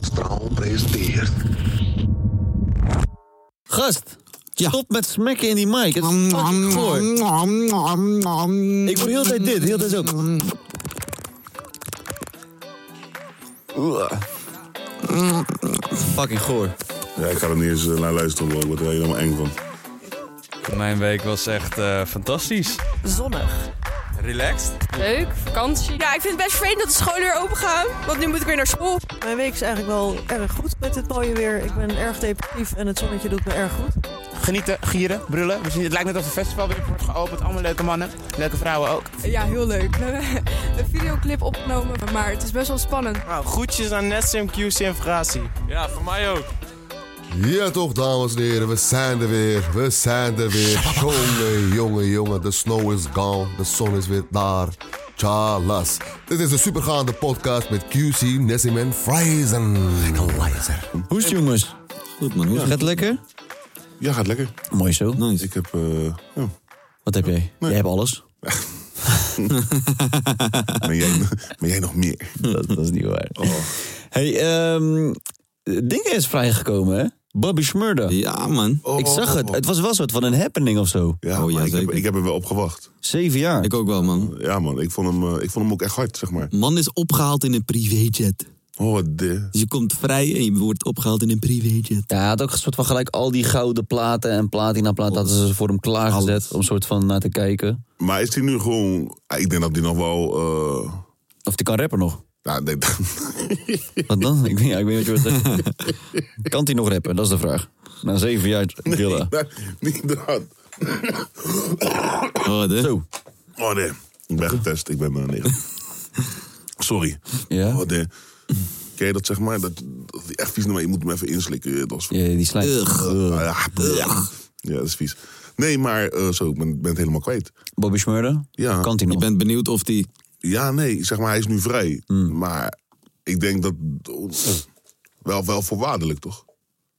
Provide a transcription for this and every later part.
Straal presenteert. Gast, stop met smekken in die mic. Het is fucking goor. Ik hoor heel de tijd dit, heel de tijd zo. Uah. Fucking goor. Ja, ik ga er niet eens eh, naar luisteren, hoor. ik word er helemaal eng van. Mijn week was echt eh, fantastisch. zonnig. Relaxed? Leuk, vakantie. Ja, ik vind het best vervelend dat de scholen weer open gaan. Want nu moet ik weer naar school. Mijn week is eigenlijk wel erg goed met dit mooie weer. Ik ben erg depressief en het zonnetje doet me erg goed. Genieten, gieren, brullen. We zien, het lijkt net of het festival weer wordt geopend. Allemaal leuke mannen, leuke vrouwen ook. Ja, heel leuk. We hebben een videoclip opgenomen, maar het is best wel spannend. Nou, groetjes aan NetSimQ Simfratie. Ja, voor mij ook. Ja toch, dames en heren, we zijn er weer. We zijn er weer. Jongen, jongen, jongen, de snow is gone. De zon is weer daar. Chalas. Dit is de supergaande podcast met QC, Nessim en Friesen. Hoe is het, jongens? Goed, man. Hoe gaat het lekker? Ja, gaat lekker. Mooi zo. Ik heb, eh, ja. Wat heb jij? Jij hebt alles. Maar jij, maar jij nog meer. dat, dat is niet waar. Oh. Hey, ehm dingen is vrijgekomen, hè? Bobby Smurda. Ja, man. Ik zag het. Het was wel een soort van een happening of zo. Oh, Ja, Oh, ja, maar ik, heb, zeker. ik heb er wel op gewacht. Zeven jaar. Ik ook wel, man. Ja, man, ik vond hem, eh, ik vond hem ook echt hard, zeg maar. Man is opgehaald in een privéjet. Oh, wat de. Dus je komt vrij en je wordt opgehaald in een privéjet. Ja, hij had ook een soort van gelijk al die gouden platen en platinaplaten hadden ze voor hem klaargezet. Om soort van naar te kijken. Maar is hij nu gewoon. ah, Ik denk dat hij nog wel. eh, Of die kan rapper nog. nou, ik denk- Wat dan? Ik weet, ja, ik weet niet wat je wilt zeggen. kan hij nog rappen? Dat is de vraag. Na zeven jaar killen. niet dat. Oh, de. Zo. Oh, nee. Ik ben getest, ik ben eh, negatief. Sorry. Ja? Oh, de. Ken je dat, zeg maar? Dat, dat die echt vies naar mij. Je moet hem even inslikken. eh, Dat is Ja, die slijt. Ah, ja, ja. ja, dat is vies. Nee, maar eh, zo, ik ben, ben het helemaal kwijt. Bobby Smurda? Ja. Kan hij nog? Ik ben benieuwd of die... Ja, nee, zeg maar, hij is nu vrij. Maar ik denk dat... Wel, wel voorwaardelijk, toch?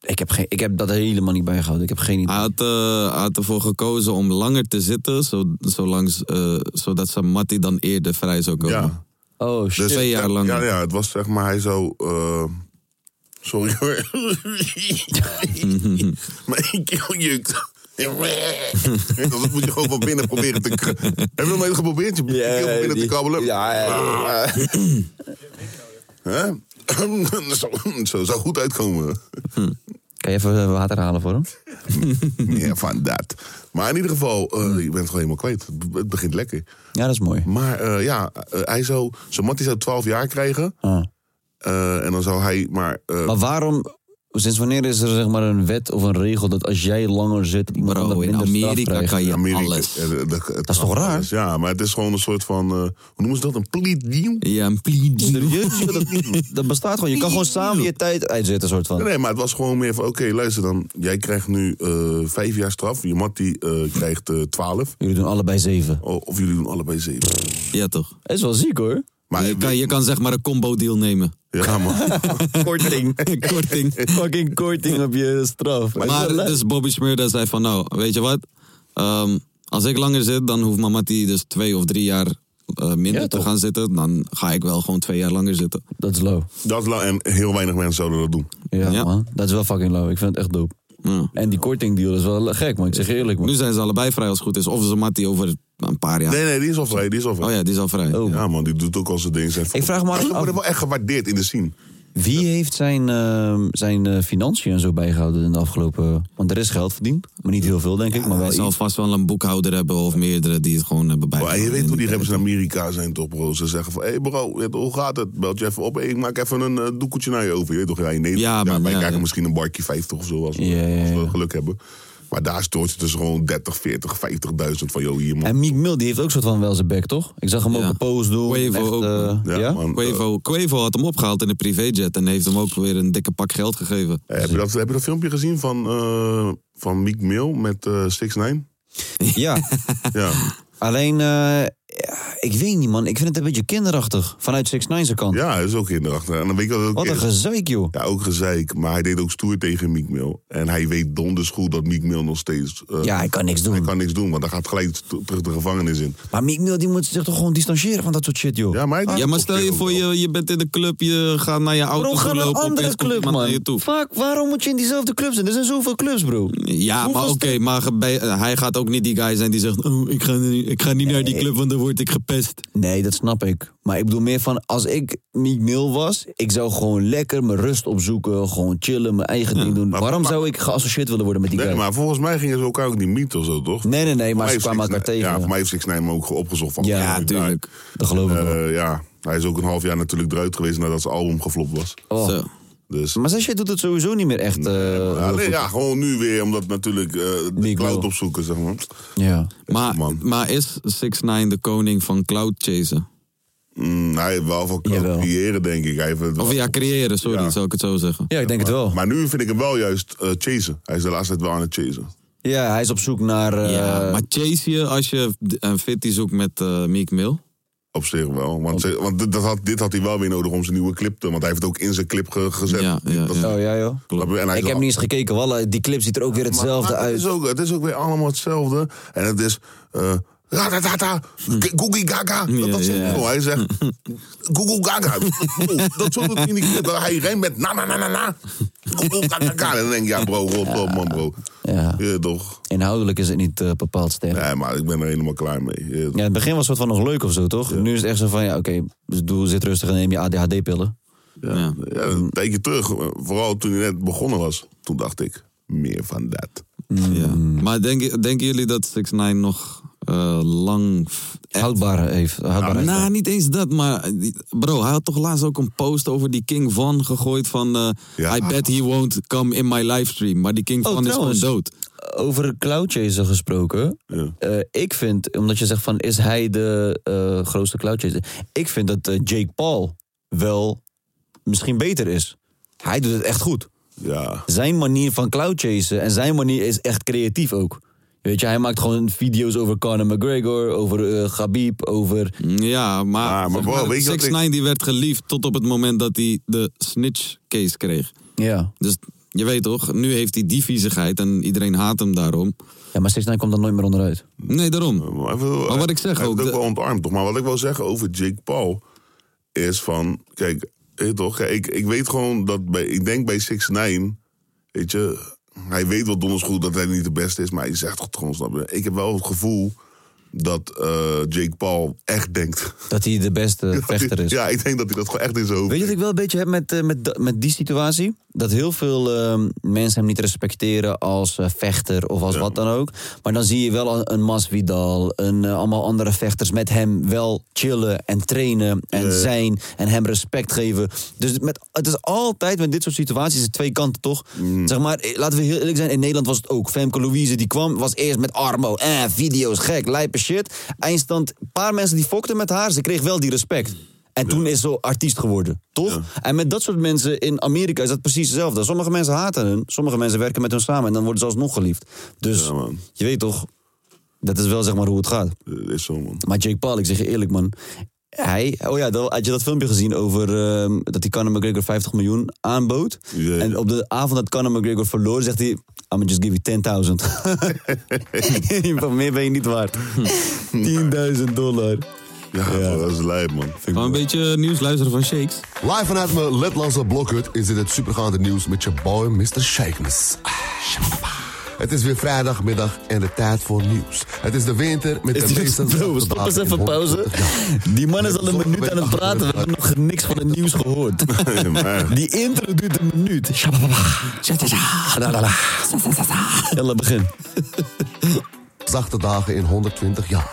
Ik, heb geen, ik heb dat helemaal niet bijgehouden. Ik heb geen idee. Hij had, eh, hij had ervoor gekozen om langer te zitten, zo, zolangs, eh, zodat zijn Mattie dan eerder vrij zou komen. Dus Ja. Oh shit. Twee jaar lang. Dus- Ja, ja, het was zeg maar, hij zou... eh, sorry hoor. maar ik keel jukt. Dat moet je gewoon van binnen proberen te... k- Heb je nog nooit geprobeerd? Je keel van binnen te kabbelen. Ja, ja, ja. Hè? zo, zo zou goed uitkomen. Kan je even eh, water halen voor hem? Ja, van dat. Maar in ieder geval, eh, je bent het gewoon helemaal kwijt. Het be- Het begint lekker. Ja, dat is mooi. Maar eh, ja, eh, hij zou, zijn mattie zou 12 jaar krijgen. Ah. Eh, en dan zou hij maar... eh, Maar waarom, sinds wanneer is er zeg maar een wet of een regel dat als jij langer zit, iemand Bro, anders in minder straf Amerika krijgt? kan je Amerika- alles. eh, dat- het- is toch raar? alles, Ja, maar het is gewoon een soort van... eh, hoe noemen ze dat? Een plea deal? Ja, een plea deal. Serieus? Ja, Dat, dat bestaat gewoon. Je kan gewoon samen je tijd uitzetten, soort van. Nee, maar het was gewoon meer van... Oké, luister dan. Jij krijgt nu eh, vijf jaar straf. Je mattie eh, krijgt eh, 12. Jullie doen allebei zeven. O- of jullie doen allebei zeven. Ja, toch? Dat is wel ziek hoor. Maar je, kan, je kan zeg maar een combo deal nemen. Ja, man. Korting. Korting. Fucking korting op je straf. Maar dus Bobby Smurda zei van, nou, weet je wat? Ehm, als ik langer zit, dan hoeft Mamati dus twee of drie jaar eh, minder Ja, te toch? gaan zitten. Dan ga ik wel gewoon twee jaar langer zitten. Dat is low. Dat is la- en heel weinig mensen zouden dat doen. Ja, Ja. man. Dat is wel fucking low. Ik vind het echt dope. Ja. En die kortingdeal is wel gek, man. Ik zeg je eerlijk, man. Nu zijn ze allebei vrij als het goed is. Of ze Matty over een paar jaar. Nee, nee, die is al vrij. Die is al vrij. Oh ja, die is al vrij. Oh. Ja, man, die doet ook al zijn ding. Zijn Ik vraag me af- Ze worden wel echt gewaardeerd in de scene. Wie heeft zijn, ehm, zijn eh, financiën en zo bijgehouden in de afgelopen... Want er is geld verdiend, maar niet heel veel denk ik. Maar wel Hij zal vast wel een boekhouder hebben of meerdere die het gewoon hebben Maar bijgehouden. Oh, je weet hoe die rappers in Amerika zijn, toch, bro? Ze zeggen van, hé hey bro, dit- hoe gaat het? Belt je even op, hey, ik maak even een eh, doekeltje naar je over. Je weet toch, ja, in Nederland, ja, wij krijgen misschien een barkje 50 of zo, als we, als we geluk hebben. Maar daar stoort het dus gewoon 30, 40, 50.000 van, joh, hier man. En Meek Mill, die heeft ook soort van wel zijn bek, toch? Ik zag hem ook een pose doen. eh, Quavo ook. ja, man, eh. Quavo, Quavo had hem opgehaald in een privéjet en heeft hem ook weer een dikke pak geld gegeven. Eh, heb, je dat, heb je dat filmpje gezien van, eh van Meek Mill met eh 6 9 Ja. ja. Alleen, eh, ik weet niet man, ik vind het een beetje kinderachtig. Vanuit 6 9 zijn kant. Ja, dat is ook kinderachtig. En dan weet ik dat het ook Wat een is. gezeik, joh. Ja, ook gezeik. Maar hij deed ook stoer tegen Meek Mill. En hij weet donders goed dat Meek Mill nog steeds... ja, hij kan niks doen. Hij kan niks doen, want hij gaat gelijk t- terug de gevangenis in. Maar Meek Mill, die moet zich toch gewoon distancieren van dat soort shit, joh. Ja, maar, Ja, maar stel je voor, je, je bent in de club, je gaat naar je auto Bro, ga toe Nou, naar een lopen. andere opeens komt club, iemand man. Naar je toe. Fuck, waarom moet je in diezelfde club zijn? Er zijn zoveel clubs, bro. Ja, maar oké, maar bij- eh, hij gaat ook niet die guy zijn die zegt... Oh, ik ga, ik ga niet naar die club, want dan word ik gepest. Nee, dat snap ik. Maar ik bedoel meer van, als ik Meek Mill was... ik zou gewoon lekker mijn rust opzoeken, gewoon chillen, mijn eigen ding doen. Waarom zou ik geassocieerd willen worden met die Nee, guy? maar volgens mij gingen ze elkaar ook niet meeten of zo, toch? Nee, nee, nee, Voor maar mij ze heeft kwamen Six elkaar Nine- tegen. Ja, voor mij heeft Six Nine hem ook opgezocht. Van, Ja, tuurlijk. Dat geloof ik eh, Ja, hij is ook een half jaar natuurlijk eruit geweest nadat zijn album geflopt was. Oh. Zo. Dus. Maar Sasha doet het sowieso niet meer echt. eh, Ja, heel nee, goed. ja, gewoon nu weer, omdat natuurlijk eh, de cloud opzoeken, zeg maar. Ja. Maar, maar is 6 9 de koning van cloud chasen? Mm, hij heeft wel van creëren, denk ik. Hij heeft het wel- Of ja, creëren, sorry, Ja. zou ik het zo zeggen. Ja, ik denk het wel. Maar nu vind ik hem wel juist eh, chasen. Hij is de laatste tijd wel aan het chasen. Ja, hij is op zoek naar... eh, ja, maar chase je als je een fitty zoekt met eh Meek Mill? Op zich wel. Want, ze- want dit, dat had, dit had hij wel weer nodig om zijn nieuwe clip te... Want hij heeft het ook in zijn clip ge- gezet. Ja, ja, Dat- Oh ja, joh. En hij is Ik heb al- niet eens gekeken, Wallah, die clip ziet er ook weer hetzelfde Maar uit. Het is, ook, het is ook weer allemaal hetzelfde. En het is. eh ratatata, g- Googie Gaga. Dat, dat zegt hij gewoon. Hij zegt. Google Gaga. Bro, dat soort dingen. die- Dat hij rijmt met. Na na na na na. Google Gaga. Gaga. En dan denk ik, ja, bro, rot op, man, bro. Ja. Ja, toch? Inhoudelijk is het niet eh, bepaald sterk. Nee, maar ik ben er helemaal klaar mee. Ja, Ja, in het begin was het soort van nog leuk of zo, toch? Nu is het echt zo van, ja, oké, dus doe, zit rustig en neem je ADHD-pillen. ja. ja, een tijdje terug. eh, Vooral toen hij net begonnen was. Toen dacht ik, meer van dat. Ja. Mm. Maar denken, denken jullie dat 6 9 nog eh, lang... Houdbaar heeft. Ah, Houdbaar heeft. nou, niet eens dat, maar eh, die- bro, hij had toch laatst ook een post over die King Van gegooid van... eh, I bet he won't come in my livestream. Maar die King Oh, Van trouwens, is gewoon dood. Over cloud chaser gesproken. Eh, ik vind, omdat je zegt van, is hij de eh, grootste cloud chaser? Ik vind dat eh, Jake Paul wel misschien beter is. Hij doet het echt goed. Ja. Zijn manier van cloud chasen en zijn manier is echt creatief ook. Weet je, hij maakt gewoon video's over Conor McGregor, over eh Khabib, over... Mm. Ja, Ah, maar, maar bro, weet je wat 6 ik- 9 die werd geliefd tot op het moment dat hij de snitch case kreeg. Ja. Dus je weet toch, nu heeft hij die viezigheid en iedereen haat hem daarom. Ja, maar 6 9 komt dan nooit meer onderuit. Nee, daarom. Maar, even- Maar wat ik zeg hij ook, heeft de- wel ontarmd, toch? Maar wat ik wil zeggen over Jake Paul is van... Kijk, weet je toch? Kijk, ik, ik weet gewoon dat... Bij, ik denk bij 6 9 weet je... Hij weet wel donders goed dat hij niet de beste is, maar hij zegt toch gewoon, snap je? Ik heb wel het gevoel dat eh, Jake Paul echt denkt... Dat hij de beste vechter is. Ja, ik denk dat hij dat gewoon echt in zijn hoofd Weet je wat ik wel een beetje heb met, eh, met, da- met die situatie? Dat heel veel eh, mensen hem niet respecteren als eh, vechter of als wat dan ook. Maar dan zie je wel een, een Masvidal, een, eh, allemaal andere vechters met hem wel chillen en trainen en zijn en hem respect geven. Dus met, het is altijd met dit soort situaties de twee kanten toch? Zeg maar, eh, laten we heel eerlijk zijn, in Nederland was het ook. Femke Louise die kwam, was eerst met Armo. Eh, video's, gek, lijpe shit. Eindstand, een paar mensen die fokten met haar, ze kreeg wel die respect. En toen is ze artiest geworden, toch? En met dat soort mensen in Amerika is dat precies hetzelfde. Sommige mensen haten hun, sommige mensen werken met hun samen... en dan worden ze alsnog geliefd. Dus je weet toch, dat is wel zeg maar hoe het gaat. is zo, man. Maar Jake Paul, ik zeg je eerlijk, man... Hij, oh ja, dat- had je dat filmpje gezien over ehm, dat hij Conor McGregor 50 miljoen aanbood? En op de avond dat Conor McGregor verloor, zegt hij... I'm just give you 10.000. Van meer ben je niet waard. 10.000 dollar. Ja, dat is lijp, man. Maar een beetje nieuws luisteren van Shakes. Live vanuit mijn Letlandse blokhut is dit het supergaande nieuws met je boy Mr. Shakeness. Het is weer vrijdagmiddag en de tijd voor nieuws. Het is de winter met Is de dit- meeste... Bro, stop eens even pauze. Die man is al een minuut aan het praten. We hebben nog niks van het nieuws gehoord. Die intro duurt een minuut. Jelle, begin. Zachte dagen in 120 jaar.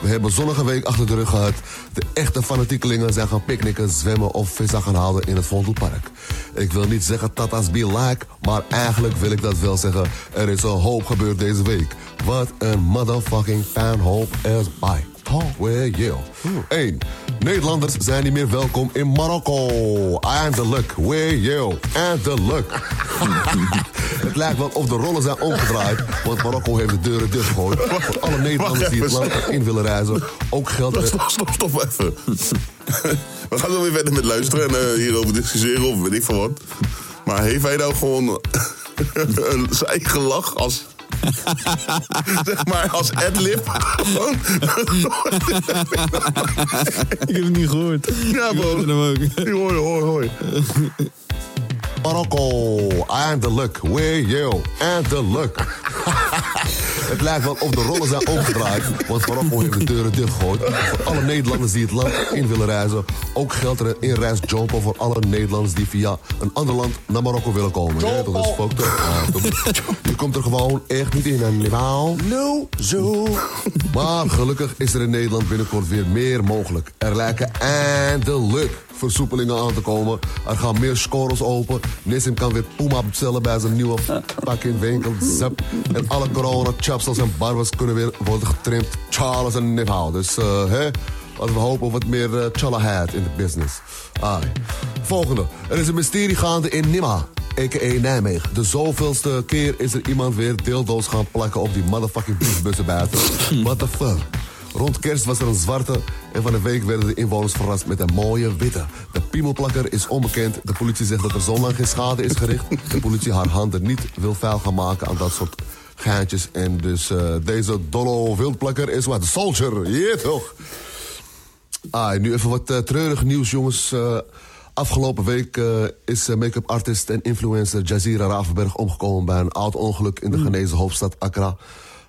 We hebben een zonnige week achter de rug gehad. De echte fanatiekelingen zijn gaan picknicken, zwemmen of vissen gaan halen in het Vondelpark. Ik wil niet zeggen tata's be like, maar eigenlijk wil ik dat wel zeggen. Er is een hoop gebeurd deze week. Wat een motherfucking fanhoop is bij. Where you? 1. Nederlanders zijn niet meer welkom in Marokko. Eindelijk. Where you? Eindelijk. Het lijkt wel of de rollen zijn omgedraaid, want Marokko heeft de deuren dichtgegooid. Voor alle Nederlanders die het land in willen reizen, ook geldt er... Stop, stop, stop even. We gaan zo weer verder met luisteren en eh, hierover discussiëren of weet ik van wat. Maar heeft hij nou gewoon een- zijn eigen lach als... zeg maar als adlib? Ik heb het niet gehoord. Ja, man. Hoi, hoi, hoi. Marokko, eindelijk, where you, eindelijk. Het lijkt wel of de rollen zijn omgedraaid, want Marokko heeft de deuren dichtgegooid. Voor alle Nederlanders die het land in willen reizen, ook geldt er een inreisjompo voor alle Nederlanders die via een ander land naar Marokko willen komen. Ja, dat is fucked up. Ja, dat is- Je komt er gewoon echt niet in, en normaal. No, zo. Maar gelukkig is er in Nederland binnenkort weer meer mogelijk. Er lijken eindelijk versoepelingen aan te komen. Er gaan meer scores open. Nissim kan weer Puma bestellen bij zijn nieuwe fucking winkel. Zap. En alle corona chapsels en barbers kunnen weer worden getrimd. Charles en Niphow. Dus eh, hè, laten we hopen op wat meer uh, in de business. Ai. Volgende. Er is een mysterie gaande in Nima. A.k.a. Nijmegen. De zoveelste keer is er iemand weer deeldoos gaan plakken op die motherfucking busbussen buiten. What the fuck? Rond kerst was er een zwarte en van de week werden de inwoners verrast met een mooie witte. De piemelplakker is onbekend. De politie zegt dat er zo lang geen schade is gericht. De politie haar handen niet wil vuil gaan maken aan dat soort geintjes. En dus eh, deze dollo wildplakker is wat soldier. Yeah, toch? Ah, nu even wat eh, treurig nieuws, jongens. Eh, afgelopen week eh, is eh, make-up artist en influencer Jazira Ravenberg omgekomen bij een oud ongeluk in de Ghanese hoofdstad Accra.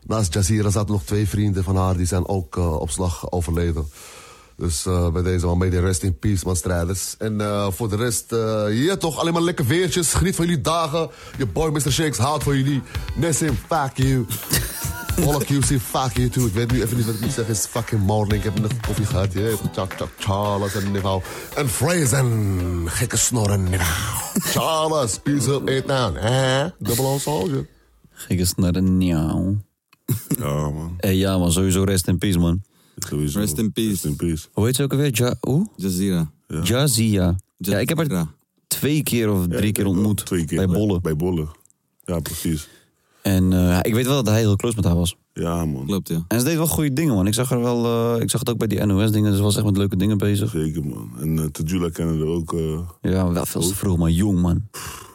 Naast Jazira zaten nog twee vrienden van haar, die zijn ook eh, op slag overleden. Dus eh, bij deze man, mede rest in peace, man, strijders. En eh, voor de rest, eh ja toch, alleen maar lekker weertjes. Geniet van jullie dagen. Je boy Mr. Shakes houdt van jullie. Nessim, fuck you. Alle QC, fuck you too. Ik weet nu even niet wat ik moet zeggen. Het is fucking morning. Ik heb nog koffie gehad. Je weet het. Tja, tja, Charles en Nivau. En Frazen. Gekke snorren, Nivau. Charles, peace up, eet aan. Hè? Dubbel ensemble. Gekke snarren, nieuw. Ja, man. ja, man, sowieso rest in peace, man. Rest in peace. Rest in peace. Hoe heet ze ook alweer? Ja, hoe? Jazeera. Ja. Jazia. Ja, ik heb haar twee keer of drie keer ontmoet. bij Bolle. Bij Bolle. Ja, precies. En eh, ik weet wel dat hij heel close met haar was. Ja, man. Klopt, ja. En ze deed wel goede dingen, man. Ik zag haar wel... eh, ik zag het ook bij die NOS-dingen. Ze was echt met leuke dingen bezig. Zeker, man. En uh, Tejula kennen er ook... eh, Ja, maar wel veel te vroeg, man. Jong, man.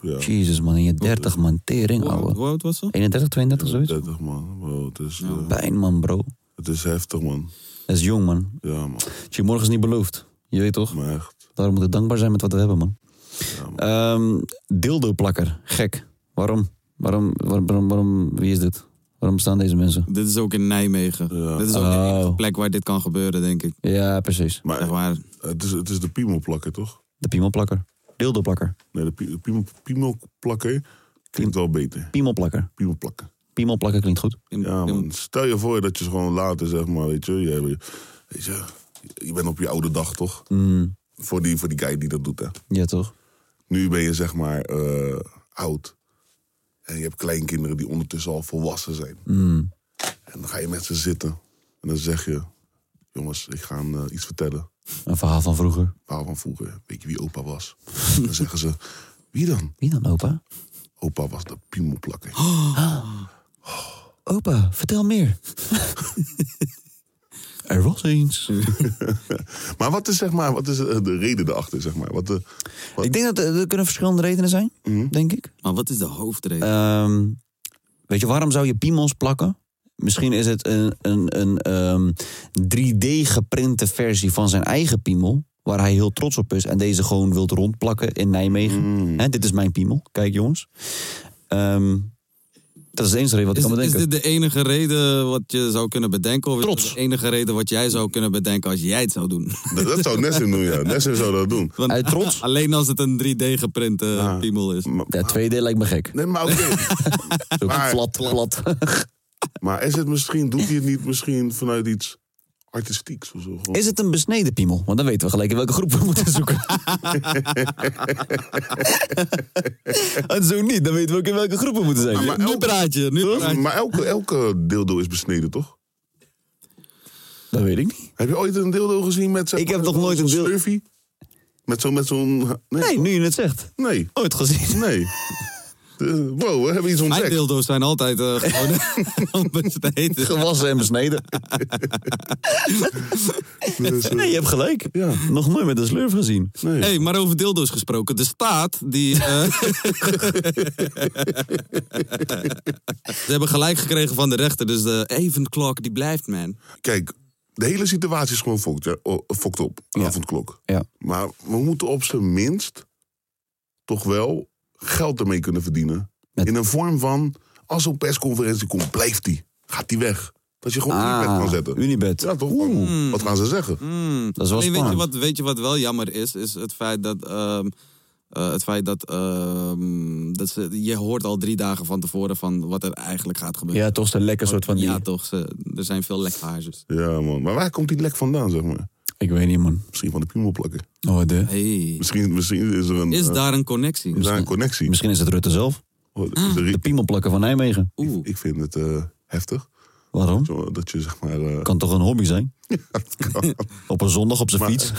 ja. Jezus, man. In je 30, man. Tering, ouwe. Hoe oud was ze? 31, 32, zoiets? 30, man. Wow, het is... eh, Pijn, man, bro. het is heftig, man. Dat is jong, man. Ja, man. Je morgen is niet beloofd. Je weet toch? Maar echt. Daarom moeten we dankbaar zijn met wat we hebben, man. Ehm, Dildo-plakker. Gek. Waarom? Waarom, waarom, waarom, waarom- Wie is dit? Waarom staan deze mensen? Oh. Dit is ook in Nijmegen. Dit is ook de enige plek waar dit kan gebeuren, denk ik. Ja, precies. Maar Zeg maar. het, is, het is de piemelplakker, toch? De piemelplakker. Dildo-plakker. Nee, de pie- de piemel, piemelplakker klinkt wel beter. Piemelplakker. Piemelplakker. Piemelplakker klinkt goed. Ja, man. Stel je voor dat je gewoon later, zeg maar, weet je... Je, weet je, je bent op je oude dag, toch? Mm, Voor die, voor die guy die dat doet, hè. ja, toch? Nu ben je, zeg maar, eh, oud. En je hebt kleinkinderen die ondertussen al volwassen zijn. Mm. En dan ga je met ze zitten. En dan zeg je... Jongens, ik ga eh, iets vertellen. Een verhaal van vroeger. verhaal van vroeger. Weet je wie opa was? dan zeggen ze, wie dan? Wie dan, opa? Opa was de piemelplakker. Opa, vertel meer. er was eens. maar wat is, zeg maar, wat is eh, de reden erachter, zeg maar? Wat eh, de, Ik denk dat er, er kunnen verschillende redenen zijn, denk ik. Maar wat is de hoofdreden? Ehm, weet je, waarom zou je piemels plakken? Misschien is het een, een, een ehm, 3D-geprinte versie van zijn eigen piemel. Waar hij heel trots op is. En deze gewoon wilt Mhm. rondplakken in Nijmegen. Hè, dit is mijn piemel. Kijk jongens. Ehm, Dat is de enige reden wat ik Is, kan is bedenken. dit de enige reden wat je zou kunnen bedenken? Of Trots. de enige reden wat jij zou kunnen bedenken als jij het zou doen? Dat, dat zou Nessim doen, ja. Nessim zou dat doen. Want- Uit trots? Ah. Alleen als het een 3D-geprinte eh, piemel is. Ja, 2D lijkt me gek. Nee, maar oké. maar, plat, plat. maar is het misschien, doet hij het niet misschien vanuit iets artistieks of zo? Gewoon- Is het een besneden piemel? Want dan weten we gelijk in welke groep we moeten zoeken. en Oh, zo niet, dan weten we ook in welke groep we moeten zijn. Ah, maar nu praat je, nu praat je. Maar elke, elke dildo is besneden, toch? Dat weet ik niet. Heb je ooit een dildo gezien met Ik heb nog nooit een dildo. Smurfie? Met zo'n... Met zo'n nee. nu je het zegt. Nee. Ooit gezien? Nee. De- Wow, we hebben iets ontdekt. Mijn dildo's zijn altijd eh, gewoon besneden. Gewassen en besneden. Dus- nee, je hebt gelijk. Nog nooit met een slurf gezien. Hé, hey, maar over dildo's gesproken. De staat die. eh, Ze hebben gelijk gekregen van de rechter, dus de avondklok die blijft, man. Kijk, de hele situatie is gewoon fokt, ja, o- fokt op. Een avondklok. Ja. Maar we moeten op zijn minst toch wel geld ermee kunnen verdienen. In een vorm van, als zo'n persconferentie komt, blijft die. Gaat die weg. Dat je gewoon Ah, Unibet kan zetten. Unibet. Ja, toch? Oeh, Wat gaan ze zeggen? Dat Alleen, is wel weet, je spannend. wat, weet je wat wel jammer is? Is het feit dat. ehm, eh, het feit dat, ehm, dat ze, je hoort al drie dagen van tevoren van wat er eigenlijk gaat gebeuren. Ja, toch zo'n lekker soort van... Ja, toch. Ze, er zijn veel lekkages. Ja, man. Maar waar komt die lek vandaan, zeg maar? Ik weet niet, man. Misschien van de piemelplakker. Oh, de... Misschien, misschien is er een... Is eh, daar een connectie? Ah, is daar een connectie? Oh, dus Misschien is het Rutte zelf. De piemelplakker van Nijmegen. Oeh. Ik, ik vind het eh, heftig. Waarom? dat je zeg maar... eh, Kan toch een hobby zijn? op een zondag op zijn Maar- eh, fiets.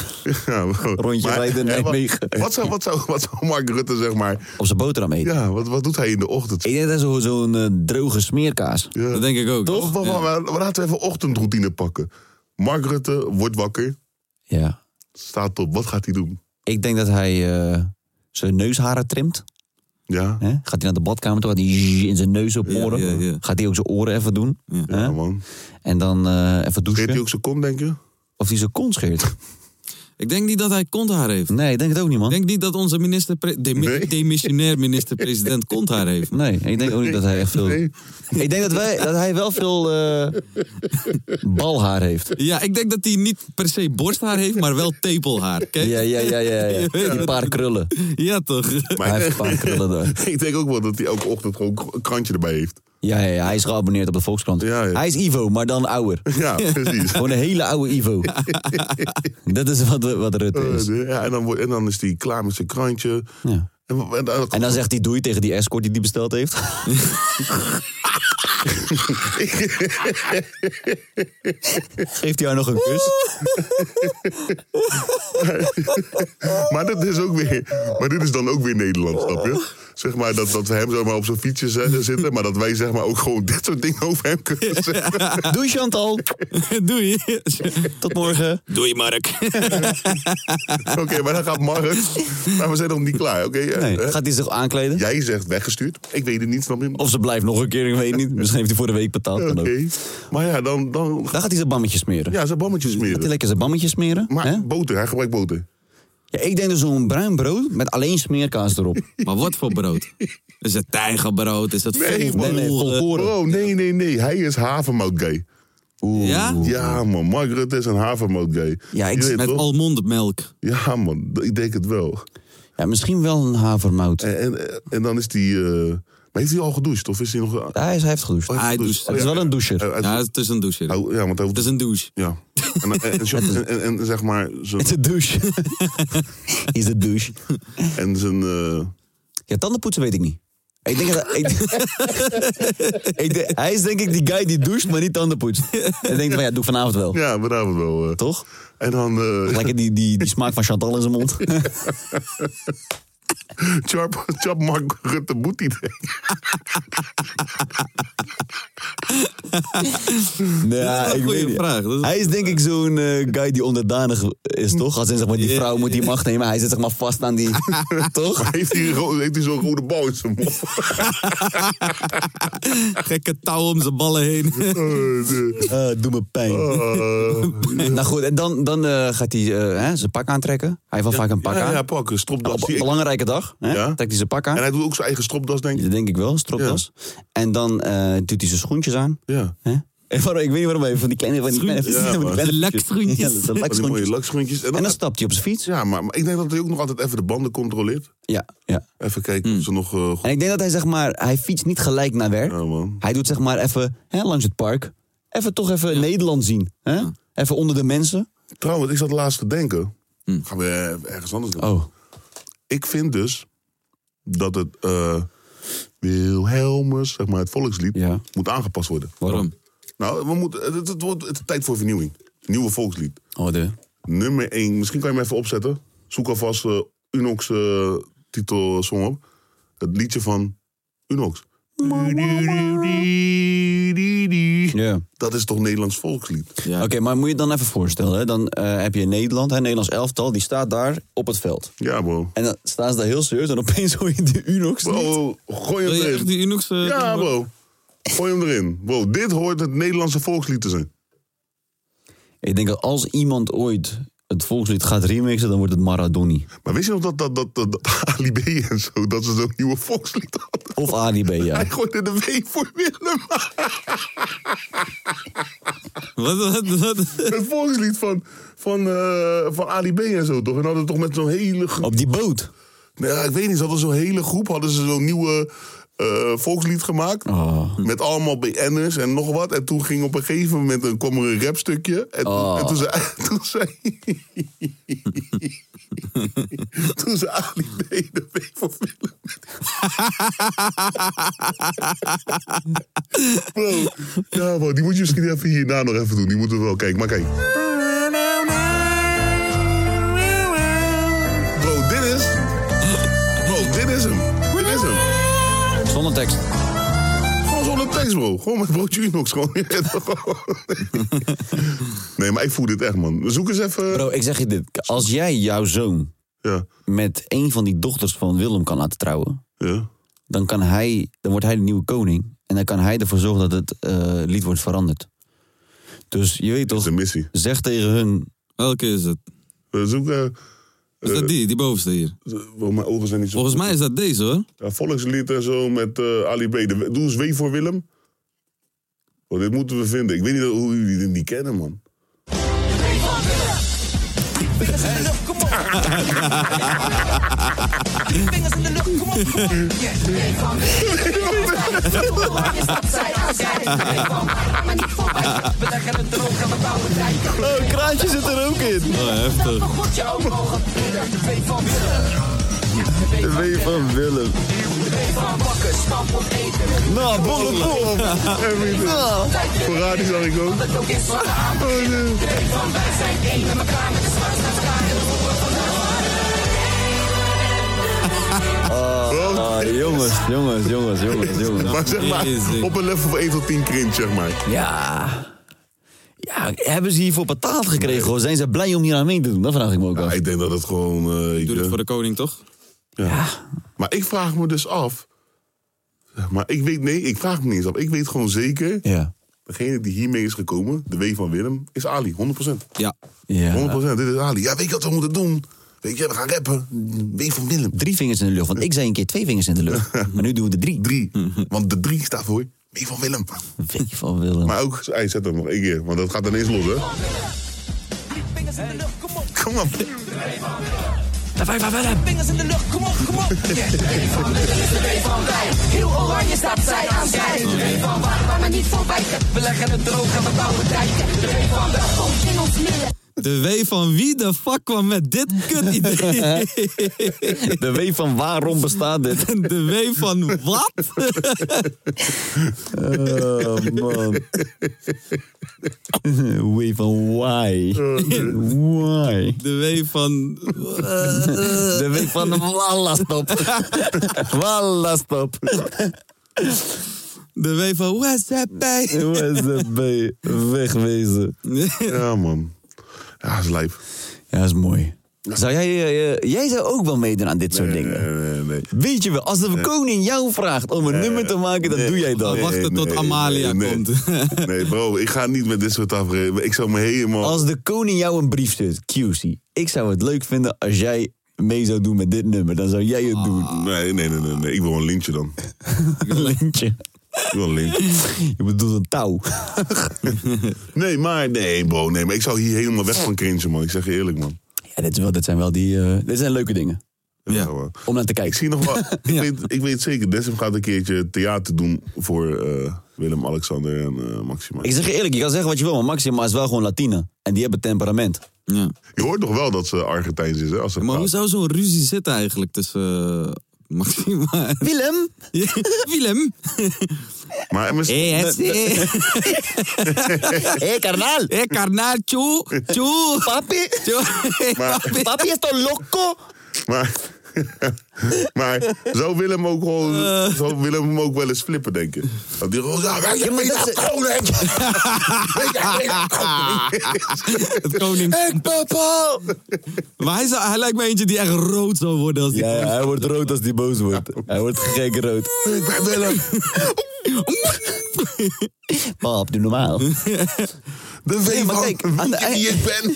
Ja, maar- Rondje maar- rijden in hè, wat- Nijmegen. Wat, zou, wat, zou, wat zou Mark Rutte, zeg maar... Op zijn boterham eten. Ja, wat, wat doet hij in de ochtend? Ik denk dat is zo- zo'n eh, droge smeerkaas. Dat denk ik ook. Toch? Wa- wa- wa- Laten we even ochtendroutine pakken. Mark Rutte wordt wakker, Ja. staat op. Wat gaat hij doen? Ik denk dat hij eh, zijn neusharen trimt. Ja. Hè? Gaat hij naar de badkamer toe, gaat hij zzz in zijn neus op oren. Gaat hij ook zijn oren even doen. Hè? En dan eh, even douchen. Scheert hij ook zijn kont, denk je? Of hij zijn kont scheert. Ik denk niet dat hij konthaar heeft. Nee, ik denk het ook niet, man. Ik denk niet dat onze minister pre- demi- demissionair minister-president konthaar heeft. Nee, ik denk ook niet dat hij echt veel... Ik denk dat, wij, dat hij wel veel eh, balhaar heeft. Ja, ik denk dat hij niet per se borsthaar heeft, maar wel tepelhaar. Kijk. Ja, ja, ja, ja. ja. Je weet Die wat- paar krullen. Ja, toch? Hij heeft een paar krullen daar. ik denk ook wel dat hij elke ochtend gewoon k- een krantje erbij heeft. Ja, ja, ja, hij is geabonneerd op de Volkskrant. Hij is Ivo, maar dan ouder. Ja, precies. Gewoon een hele oude Ivo. dat is wat, wat Rutte is. Eh, ja, en, dan, wordt- en dan is hij klaar met zijn krantje. En, wa- en dan- En dan zegt hij doei tegen die escort die die besteld heeft. Geeft hij haar nog een kus? maar dat is ook weer. Maar dit is dan ook weer Nederland, snap je? Zeg maar dat, dat we hem zomaar op zijn fietsje z- zitten, maar dat wij zeg maar ook gewoon dit soort dingen over hem kunnen zeggen. Doei Chantal. Doei. Tot morgen. Doei Mark. Oké, maar dan gaat Mark. Maar we zijn nog niet klaar, oké? Nee, Eh, gaat hij zich aankleden? Jij zegt weggestuurd. Ik weet het niet, snap je? Of ze blijft nog een keer, ik weet het niet. Misschien heeft hij voor de week betaald. Ja, kan Oké. ook. Maar ja, dan, dan... Dan gaat hij zijn bammetjes smeren. Ja, zijn bammetjes smeren. Gaat hij lekker zijn bammetjes smeren? Maar boter, hij gebruikt boter. Ja, ik denk dus zo'n bruin brood met alleen smeerkaas erop. Maar wat voor brood? Is het tijgerbrood? Is het Nee, man. volkoren? Oh, nee, nee, nee. Hij is havermout gay. Ja? Ja, man. Mark Rutte is een havermout gay. Ja, ik- Je weet Met toch? almondenmelk. Ja, man. d- Ik denk het wel. Ja, misschien wel een havermout. En, en, en dan is die... eh, Maar heeft hij al gedoucht? Of is hij nog... Ja, hij, is- hij heeft gedoucht. Oh, hij Hij heeft doucht. gedoucht. Het is wel een doucher. Hij- hij- Ja, het is een douche. hij- Nou, Ja, want hij hoeft... Het is Dus- een douche. Ja. En, en, en, en, en- en zeg maar... Zijn, Het is een douche. is een douche. en zijn... eh, Ja, tandenpoetsen weet ik niet. Ik denk dat, ik, ik denk- hij is denk ik die guy die doucht, maar niet tandenpoetst. En denkt van ja, doe ik vanavond wel. Ja, vanavond wel. eh. Toch? En dan... eh, Lekker die, die, die smaak van Chantal in zijn mond. Chap, Chap Mark Rutte moet niet. Ja, ik weet niet. Hij is denk ik zo'n eh, guy die onderdanig is, toch? Als in, zeg maar, die vrouw moet die macht nemen. Hij zit zeg maar vast aan die... toch? heeft hij, gewoon- heeft hij zo'n rode bal in zijn mond? Gekke touw om zijn ballen heen. Oh, Eh, doe me pijn. Oh. nou goed, en dan, dan eh, gaat hij eh, hè, zijn pak aantrekken. Hij heeft wel vaak een pak ja, aan. Nou, ja, pak, een stropdas. Op Die een ik- belangrijke dag hè, Ja. trekt hij zijn pak aan. En hij doet ook zijn eigen stropdas, denk ik. Dat denk ik wel, stropdas. En dan eh, doet hij zijn schoentjes aan. Ja. Hè? En waarom, ik weet niet waarom, hij van die kleine... Van die kleine, Schoentjes. Ja, van die man. kleine De Ja, de Van die lakschoentjes. mooie lakschoentjes. En dan, stapt hij op zijn fiets. Ja, maar, maar ik denk dat hij ook nog altijd even de banden controleert. Ja, ja. Even kijken of ze nog... eh, goed- Hmm. En ik denk dat hij zeg maar, hij fietst niet gelijk naar werk. Hij doet zeg maar even hè, langs het park. Even toch even Nederland zien. Hè? Even onder de mensen. Trouwens, ik zat laatst te denken. Gaan we eh, ergens anders doen. Hmm. Oh. Ik vind dus dat het eh Wilhelmus, zeg maar, het volkslied, moet aangepast worden. Waarom? Nou, we moeten, het, het, het wordt het is tijd voor vernieuwing. Nieuwe volkslied. Oh, de. Nummer 1. Misschien kan je hem even opzetten. Zoek alvast eh, Unox eh, titelsong op. Het liedje van Unox. Ja. Dat is toch Nederlands volkslied? Oké, maar moet je het dan even voorstellen. Hè? Dan eh, heb je Nederland, hè, Nederlands elftal. Die staat daar op het veld. Ja, bro. En dan staan ze daar heel serieus. En opeens hoor je de Unox Bro, Oh, gooi hem erin. die Unox... eh, ja, bro. Gooi hem erin. Bro, dit hoort het Nederlandse volkslied te zijn. Ik denk dat als iemand ooit het volkslied gaat remixen, dan wordt het Maradoni. Maar wist je nog dat, dat, dat, dat, dat Ali B en zo, dat ze zo'n nieuwe volkslied hadden? Of Ali B, ja. Hij gooide de W voor Willem. Wat, wat, wat? Het volkslied van, van, eh, van Ali B en zo, toch? En hadden toch met zo'n hele groep... Op die boot? Nou, ja, ik weet niet, ze hadden zo'n hele groep, hadden ze zo'n nieuwe eh, volkslied gemaakt. Met allemaal BN'ers en nog wat. En toen ging op een gegeven moment, een, kwam er een rapstukje. En, toen- Oh. en toen zei... Toen zei, toen zei Ali B de W voor Willem. Bro, ja man, die moet je misschien even hierna nog even doen. Die moeten we wel kijken. Maar kijk. Bro, dit is... Bro, dit is hem. Dit is hem. Zonder tekst. Gewoon zonder tekst, bro. Gewoon met broodje Unox. Gewoon. nee, maar ik voel dit echt, man. Zoek eens even... Bro, ik zeg je dit. Als jij jouw zoon met een van die dochters van Willem kan laten trouwen, dan, kan hij, dan wordt hij de nieuwe koning. En dan kan hij ervoor zorgen dat het eh, lied wordt veranderd. Dus je weet toch, zeg tegen hun... Eh. Welke is het? We zoeken... Is dat die, die bovenste hier? Bro, mijn ogen zijn niet zo... Volgens mij is dat deze hoor. Ja, volkslied en zo met eh Ali B. De- Doe eens W voor Willem. Bro, dit moeten we vinden. Ik weet niet hoe jullie dit niet kennen, man. Vingers in de lucht, kom op, kom op. Yeah, wee van We leggen het droog en we bouwen dijken. Oh, kraantje zit er ook in. Oh, heftig. Goed je ogen, de wee van Willem. De W van Willem. De wee van bakken, stamp op eten. Nou, bolle bolle. Nou. Ferrari zag ik ook. Oh, Dat ook is van de aanbreking. De wee van wij zijn één met elkaar, met de zwaarste met elkaar en de boeren van de Ah, jongens, jongens, jongens, jongens, jongens. Maar zeg maar, op een level van 1 tot 10 cringe, zeg maar. Ja. Ja, hebben ze hiervoor betaald gekregen? Hoor? Zijn ze blij om hier aan mee te doen? Dat vraag ik me ook af. Ik denk dat het gewoon... eh, ik, Doe het eh, voor de koning toch? Ja. Maar ik vraag me dus af. zeg Maar ik weet, nee, ik vraag me niet eens af. Ik weet gewoon zeker. Ja. Degene die hiermee is gekomen, de W van Willem, is Ali, 100%. Ja. 100%, dit is Ali. Ja, weet je wat we moeten doen? Weet je, we gaan rappen. W van Willem. Drie vingers in de lucht, want ik zei een keer twee vingers in de lucht. Maar nu doen we de drie. Drie, Mhm. want de drie staat voor W van Willem. W van Willem. Maar ook, hij zet hem nog één keer, want dat gaat ineens los, hè? Vingers in de lucht, kom op. Kom op. De wij van Willem. Vingers in de lucht, kom op, kom op. Yeah. De wee van Willem is de wee van wij. Heel oranje staat zij aan zij. De wee van waar, waar we niet voor wijken. We leggen het droog en we bouwen dijken. De wee van de komt in ons midden. De W van wie de fuck kwam met dit kut idee? De W van waarom bestaat dit? De W van wat? Oh, man. W van why? Why? De W van... eh, De W van walla stop. Walla stop. De W van WhatsApp bij. WhatsApp bij. Wegwezen. Ja, man. Ja, is lijp. Ja, is mooi. Zou jij, eh, eh, jij zou ook wel meedoen aan dit soort dingen. Weet je wel, als de koning jou vraagt om een nummer te maken, dan doe jij dat. Nee, nee, nee, nee. nee, bro, ik ga niet met dit soort tafereel. Ik zou me helemaal. Als de koning jou een brief stuurt, QC, ik zou het leuk vinden als jij mee zou doen met dit nummer. Dan zou jij het doen. Nee, nee, nee, nee, nee. Ik wil een lintje dan. een lintje. Ik wil een lintje. Je bedoelt een touw. nee, maar nee, bro. Nee, maar ik zou hier helemaal weg van cringen, man. Ik zeg je eerlijk, man. Ja, dit, is wel, dit zijn wel die. eh, dit zijn leuke dingen. Ja. Om naar te kijken. Ik zie nog wel. Ik, weet, ik weet zeker, Desim gaat een keertje theater doen voor eh, Willem, Alexander en eh, Maxima. Ik zeg je eerlijk, je kan zeggen wat je wil, maar Maxima is wel gewoon Latina. En die hebben temperament. Ja. Je hoort nog wel dat ze Argentijns is, hè? Als ze Maar hoe praat. zou zo'n ruzie zitten eigenlijk tussen eh, Maxima en... Willem? Willem? Maar MS... Hé, Hé, carnal. Hé, carnal, tjoe, tjoe. Papi. Maar- Papi is toch loco? Maar, maar zou Willem ook gewoon, zou Willem hem ook wel eens flippen, denk je? Dat die gewoon, ja, wij zijn ja, koning! Wij zijn mega koning! Het koning. Ik papa! Maar hij, zou, hij lijkt me eentje die echt rood zou worden als die... Ja, ja, hij wordt rood als die boos wordt. Hij wordt gek rood. Ik ben Willem! Pap, doe normaal. De Nee, V maar van kijk, aan de wie ik ben!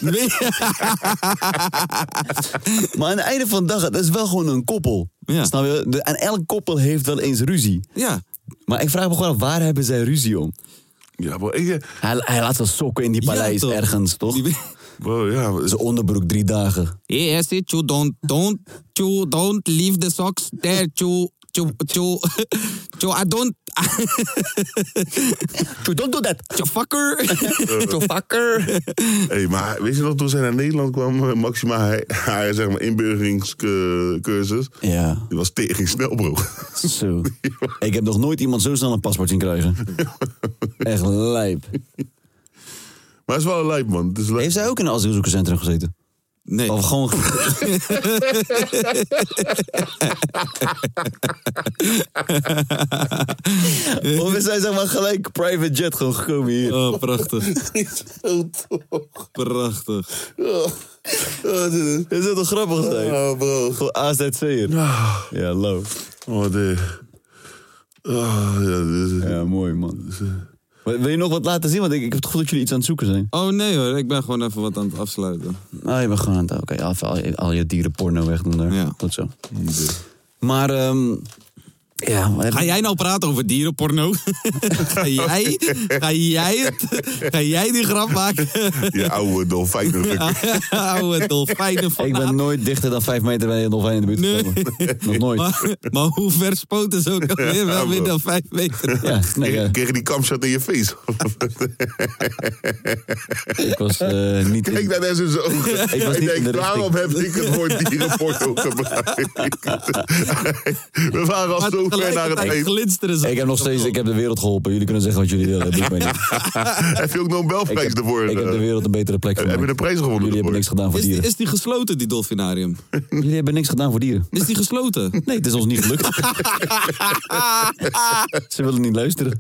Maar aan het einde van de dag, dat is wel gewoon een koppel. Snap je? De- en elk koppel heeft wel eens ruzie. Ja. Maar ik vraag me gewoon af, waar hebben zij ruzie om? Ja, bro, ik, Hij, hij laat wel sokken in die paleis ergens, toch? bro, ja, maar- Zijn onderbroek drie dagen. Hé, yes, it, tjoe, don't, don't, tjoe, don't leave the socks there, tjoe, tjoe, tjoe, tjoe, I don't... Tjoe, don't do that. Tjoe, fucker. Tjoe, fucker. Hey, maar weet je nog, toen zij naar Nederland kwam, eh, Maxima, hij- haar zeg maar, inburgeringscursus, Ja. die was tegen snel, bro. Zo. Ik heb nog nooit iemand zo snel een paspoort zien krijgen. Echt lijp. Maar het is wel een lijp, man. Het is lijp. Heeft zij ook in een asielzoekerscentrum gezeten? Nee. Of gewoon... of is zij zeg maar gelijk private jet gewoon gekomen hier? Oh, prachtig. Zo toch. Prachtig. Oh. Is dat toch grappig zijn? Oh, bro. Gewoon AZC'er. Ja, low. Oh, de... Oh, ja, dit is... Ja, mooi man. Wil wil je nog wat laten zien? Want ik, ik heb het gevoel dat jullie iets aan het zoeken zijn. Oh nee hoor, ik ben gewoon even wat aan het afsluiten. Oh, je bent gewoon aan het... Oké, af- al, je- al je dierenporno weg doen daar. Ja. Goed zo. Maar, ehm ja, maar- Ga jij nou praten over dierenporno? ga, jij, ga, jij het, ga jij die grap maken? Je oude dolfijnen. Oude dolfijnen van ik ben nooit dichter dan vijf meter bij een dolfijn in de buurt Nee. gekomen. Nog nooit. Maar, maar hoe ver spoten ze ook alweer? Wel meer dan vijf meter. Ja, nee, ja. Kreeg kreeg je die kamshot in je face? ik was eh, niet... Kijk in- naar deze zijn ogen. Ik was niet in de denk, richting. waarom heb ik het woord dierenporno gebruikt? We waren al Maar zo ver naar het tegelijkertijd eind. glinsteren ze. Ik heb nog steeds... Ik heb de wereld geholpen. Jullie kunnen zeggen wat jullie willen. Dat doet mij niet. Heb je ook Ik Nobelprijs heb, ervoor? ik heb eh, de wereld een betere plek Heb je gemaakt. de prijs gewonnen Jullie hebben ervoor? niks gedaan voor Is die, dieren. is die gesloten, die dolfinarium? Jullie hebben niks gedaan voor dieren. Is die gesloten? Nee, het is ons niet gelukt. Ze willen niet luisteren.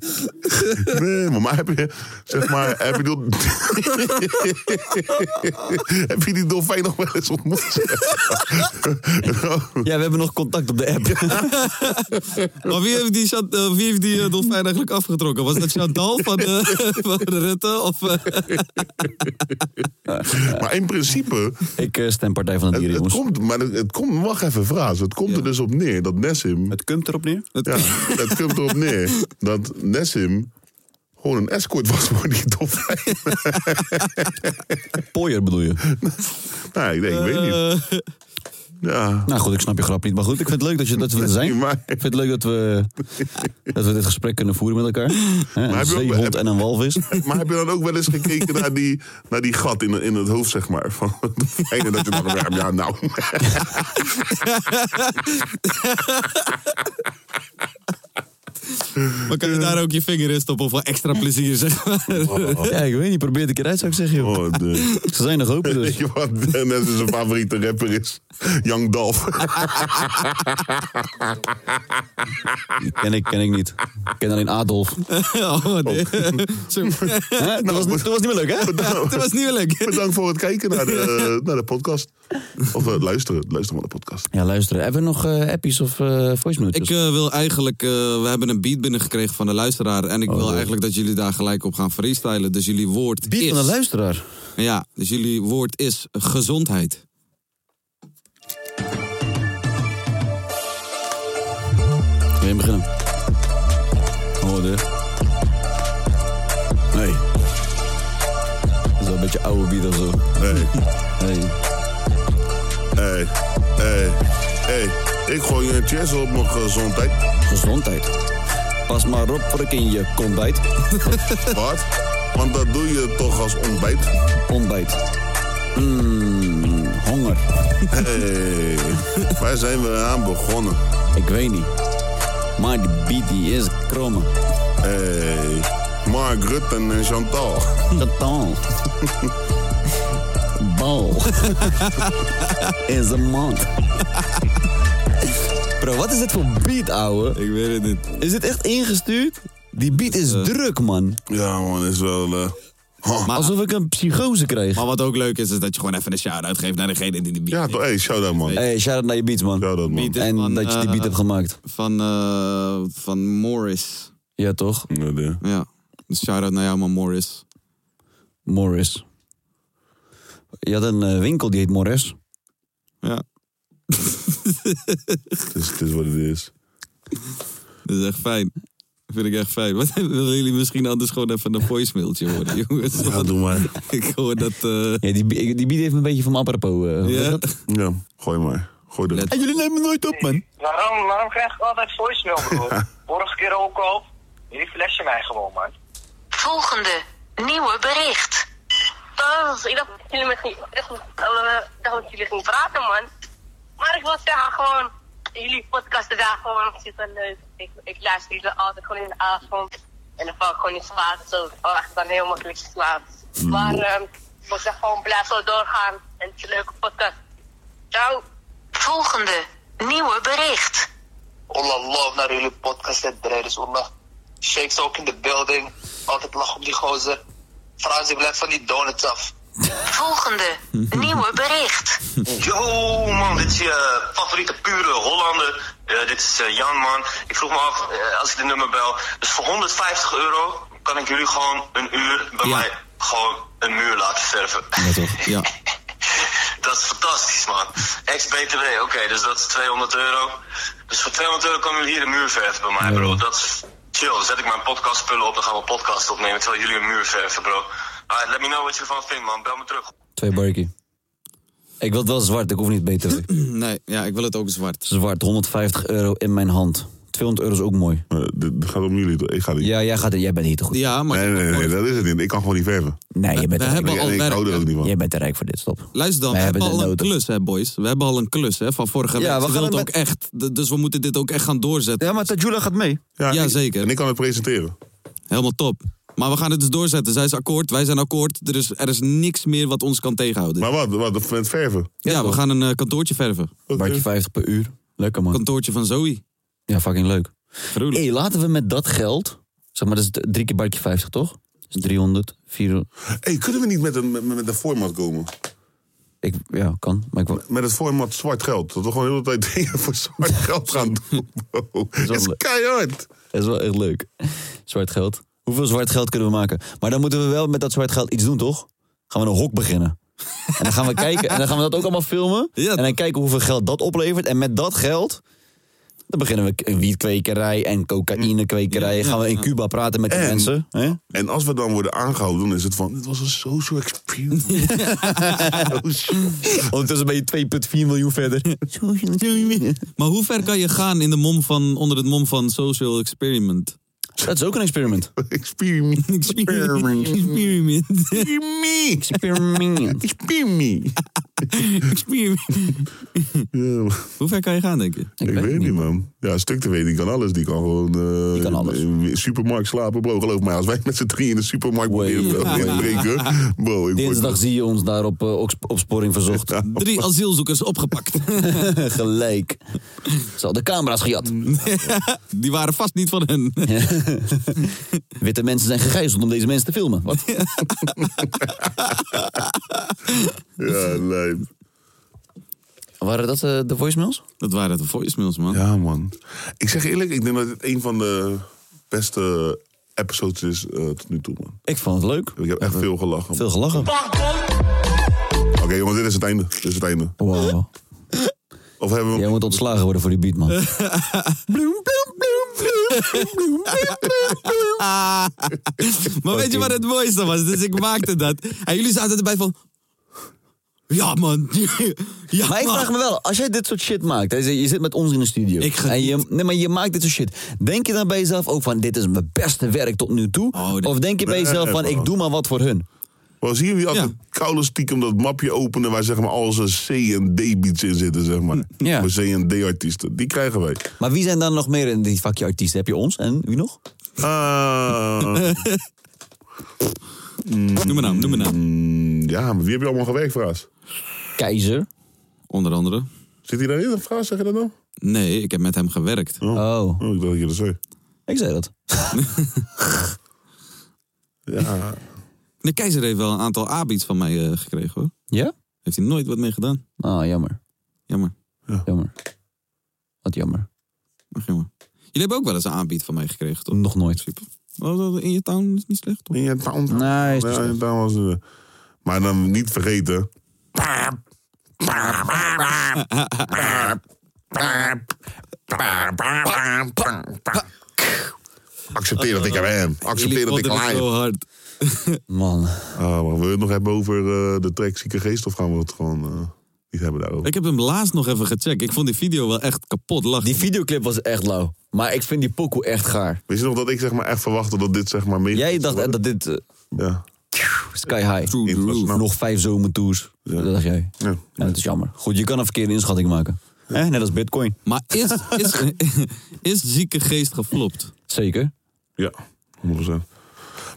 Nee, maar, maar heb je, zeg maar, heb je, dol... heb je die dolfijn nog wel eens ontmoet? Ja, we hebben nog contact op de app. Maar wie heeft die, Chant- eh, wie heeft die eh, dolfijn eigenlijk afgetrokken? Was dat Chantal van, eh, van Rutte? Of, eh, maar in principe, Ik eh, stem Partij van de het, Dieren, het jongens. komt, maar het, het komt, wacht even, Fraas. Het komt er dus op neer dat Nessim, Het komt erop neer. ja, het komt erop neer dat Nessim gewoon een escort was voor die dolfijn. Pooier bedoel je? Nee, Nou, ik, denk, ik weet niet. eh, Ja. Nou goed, ik snap je grap niet. Maar goed, ik vind het leuk dat, je, dat we er zijn. Nee, maar- Ik vind het leuk dat we, dat we dit gesprek kunnen voeren met elkaar. Hè, een heb je ook- zeehond heb- en een walvis. Maar heb je dan ook wel eens gekeken naar die, naar die gat in, in het hoofd, zeg maar? Van de dolfijnen, dat je dacht, ja, ja, nou. Maar kan je daar ook je vinger in stoppen voor extra plezier, zeg maar? Oh. Oh. Ja, ik weet niet. Probeer het een keer uit, zou ik zeggen. joh. Ze zijn nog open dus. Weet je wat Dennis zijn favoriete rapper is? Young Dolph. Ken ik, ken ik niet. Ik ken alleen Adolf. oh, nee. Zo. Hè? Dat was, niet- dat was niet meer leuk, hè? Bedankt. Dat was niet meer leuk. Bedankt voor het kijken naar de, naar de podcast. Of eh, luisteren. Luisteren naar de podcast. Ja, luister. Hebben we nog eh, appies of eh voice notes? Ik eh, wil eigenlijk, eh, we hebben een beat binnengekregen van de luisteraar. En ik wil eigenlijk dat jullie daar gelijk op gaan freestylen. Dus jullie woord Oh, Beat is... van de luisteraar. Ja, dus jullie woord is gezondheid. Wil je beginnen? Hoorde. Nee. Dat is wel een beetje oude bier of zo. Hey. Hey. Hey. Hey. Hey. Ik gooi een chess op mijn gezondheid. Gezondheid? Pas maar op voor ik in je kont bijt. Wat? Want dat doe je toch als ontbijt? Ontbijt. Mmm, honger. Hey. Waar zijn we aan begonnen? Ik weet niet. Maar die beat die is kromme. Hey. Mark Rutte en Chantal. Hm. Chantal. Bal. is een man. Bro, wat is dit voor beat, ouwe? Ik weet het niet. Is dit echt ingestuurd? Eh. Die beat is druk, man. Ja, man, is wel. eh, Alsof ik een psychose kreeg. Maar wat ook leuk is, is dat je gewoon even een shout-out geeft naar degene die de beat Ja, heeft. toch? Hey, shout-out, man. Hey, shout-out naar je beats, man. Shout-out, man. Beat is En van, dat je die beat eh, hebt gemaakt. Van, eh, van Morris. Ja, toch? Ja, de- Ja. Dus shout-out naar jou, man, Morris. Morris. Je had een eh, winkel die heet Morris. Ja. Het is, het is wat het is. Dat is echt fijn. Vind ik echt fijn. Wat, willen jullie misschien anders gewoon even een voicemailtje horen, jongens? Ja, doe maar. Ik hoor dat... eh, Ja, die, die beat heeft me een beetje van apropos. eh, Ja. wat is dat? Ja, gooi maar. Gooi de. En jullie nemen nooit op, man. Waarom, waarom krijg ik altijd voicemail, broer? Vorige keer ook al. Jullie flashen mij gewoon, man. Volgende nieuwe bericht. ik dacht dat jullie met niet, echt, eh, ik dacht dat jullie gingen praten, man. Maar ik wil zeggen, gewoon, jullie podcasten daar gewoon super leuk. Ik, ik luister jullie altijd gewoon in de avond. En dan val ik gewoon in slaap. Zo, Oh, ik val echt dan heel makkelijk in slaap. Maar ehm, ik wil zeggen, gewoon blijf zo doorgaan. En het is een leuke podcast. Ciao. Volgende nieuwe bericht. Allah, love naar jullie podcast en dreiders, Allah. Shakes ook in de building. Altijd lachen op die gozer. Frans, ik blijf van die donuts af. Volgende nieuwe bericht. Yo man, dit is je favoriete pure Hollander. Eh, dit is eh, Jan man. Ik vroeg me af, eh, als ik de nummer bel, dus voor 150 euro kan ik jullie gewoon een uur bij mij gewoon een muur laten verven. Ja, toch? Ja. Dat is fantastisch man. Ex-BTW, oké, dus dat is 200 euro. Dus voor 200 euro kan jullie hier een muur verven bij mij bro. Dat is chill. Dan Zet ik mijn podcastspullen op, dan gaan we een podcast opnemen terwijl jullie een muur verven bro. Alright, let me know wat je ervan vindt man. Bel me terug. Twee barkie. Ik wil het wel zwart, ik hoef niet beter. nee, ja, ik wil het ook zwart. Zwart, 150 euro in mijn hand. 200 euro is ook mooi. Eh, dit gaat om jullie. toch? Ik ga niet. Ja, jij, gaat, jij bent hier te goed. Ja, maar... Nee, nee, nee, dat is het niet. Ik kan gewoon niet verven. Nee, je bent we er hebben rijk. al Ik werk. hou er ook niet van. Jij bent te rijk voor dit, stop. Luister dan, Wij we hebben hebben al het een nodig. klus, hè, boys. We hebben al een klus, hè, van vorige week. we Ze gaan wil het hem ook echt. D- Dus we moeten dit ook echt gaan doorzetten. Ja, maar Tajula gaat mee. Ja, zeker. En ik kan het presenteren. Helemaal top. Maar we gaan het dus doorzetten. Zij is akkoord, wij zijn akkoord. Er is, er is niks meer wat ons kan tegenhouden. Maar wat? Wat? Met verven? Eh, Ja, we gaan een eh, kantoortje verven. Bartje 50 per uur. Lekker man. Kantoortje van Zoe. Ja, fucking leuk. hey, laten we met dat geld... Zeg maar, dat is d- drie keer bartje 50, toch? Dus 300, 400... hey, kunnen we niet met een, met, met een format komen? Ik, ja, kan. Maar ik, wou- Met het format zwart geld. Dat we gewoon de hele tijd dingen voor zwart geld gaan doen. bro. wel is leuk. keihard. Dat is wel echt leuk. Zwart geld. Hoeveel zwart geld kunnen we maken? Maar dan moeten we wel met dat zwart geld iets doen, toch? Gaan we een hok beginnen. En dan gaan we kijken. En dan gaan we dat ook allemaal filmen. En dan kijken hoeveel geld dat oplevert. En met dat geld... Dan beginnen we een wietkwekerij en cocaïnekwekerij. Gaan we in Cuba praten met de En- mensen. Hè? En als we dan worden aangehouden, dan is het van... Het was een social experience. Ondertussen ben je 2,4 miljoen verder. Maar hoe ver kan je gaan in de mom van, onder het mom van social experiment? Dat is ook een experiment. Experiment. Experiment. Experiment. Experiment. Hoe ver kan je gaan, denk je? Ik, weet het niet, man. Ja, stuk te weten, die kan alles. Die kan gewoon eh, in de supermarkt slapen. Bro, geloof mij, als wij met z'n drieën in de supermarkt proberen eh, te breken... Bro, ik Dinsdag zie je ons daar op eh, oks- opsporing verzocht. Drie asielzoekers opgepakt. Gelijk. Ze hadden camera's gejat. Die waren vast niet van hen. Witte mensen zijn gegijzeld om deze mensen te filmen. Wat? ja, lijp. Waren dat eh, de voicemails? Dat waren de voicemails, man. Ja, man. Ik zeg eerlijk, ik denk dat dit een van de beste episodes is eh, tot nu toe, man. Ik vond het leuk. Ik heb echt veel gelachen. Veel gelachen. Oké, jongens, dit is het einde. Dit is het einde. Wow. Of hebben we... Jij moet ontslagen worden voor die beat, man. Maar weet je wat het mooiste was? Dus ik maakte dat. En jullie zaten erbij van... Ja, man. Ja, maar ik man. vraag me wel, als jij dit soort shit maakt, hè, je zit met ons in de studio. en je, nee, maar je maakt dit soort shit. Denk je dan bij jezelf ook van, dit is mijn beste werk tot nu toe? of denk je bij jezelf van, ik doe maar wat voor hun? Wel, zien jullie altijd koude stiekem dat mapje openen... waar zeg maar al zijn C- en D-beats in zitten, zeg maar. Ja. Voor C- en D-artiesten. Die krijgen wij. Maar wie zijn dan nog meer in dit vakje artiesten? Heb je ons en wie nog? Ah. noem maar naam, noem maar naam. mm, Ja, maar wie heb je allemaal gewerkt, Fraas? Keizer. Onder andere. Zit hij daarin, Fraas, zeg je dat nou? Nee, ik heb met hem gewerkt. Oh. Oh, ik dacht dat je dat zei. Ik zei dat. ja. De keizer heeft wel een aantal A-beats van mij eh, gekregen, hoor. Ja? Heeft hij nooit wat mee gedaan. Ah, jammer. Jammer. Jammer. Wat jammer. Ach, jammer. Jullie hebben ook wel eens een aanbied van mij gekregen, toch? Nog nooit. In je town is niet slecht, toch? In je town? Nee, Ja, en daar was, eh, maar dan niet vergeten. Accepteer dat ik er ben. Accepteer dat ik Jullie vonden het er ben. zo hard. Man. Ah, maar we het nog hebben over eh, de track Zieke Geest of gaan we het gewoon eh, niet hebben daarover? Ik heb hem laatst nog even gecheckt. Ik vond die video wel echt kapot lachen. Die videoclip was echt lauw. Maar ik vind die pokoe echt gaar. Weet je nog dat ik zeg maar echt verwachtte dat dit zeg maar mee... Jij dacht eh, dat dit... eh, nou- Ja. Sky high. Nog vijf zomertours. Dat dacht jij. Ja. dat is jammer. Goed, je kan een verkeerde inschatting maken. Hè, net als bitcoin. Maar is, is, is zieke geest geflopt? Zeker. Ja, 100%. Maar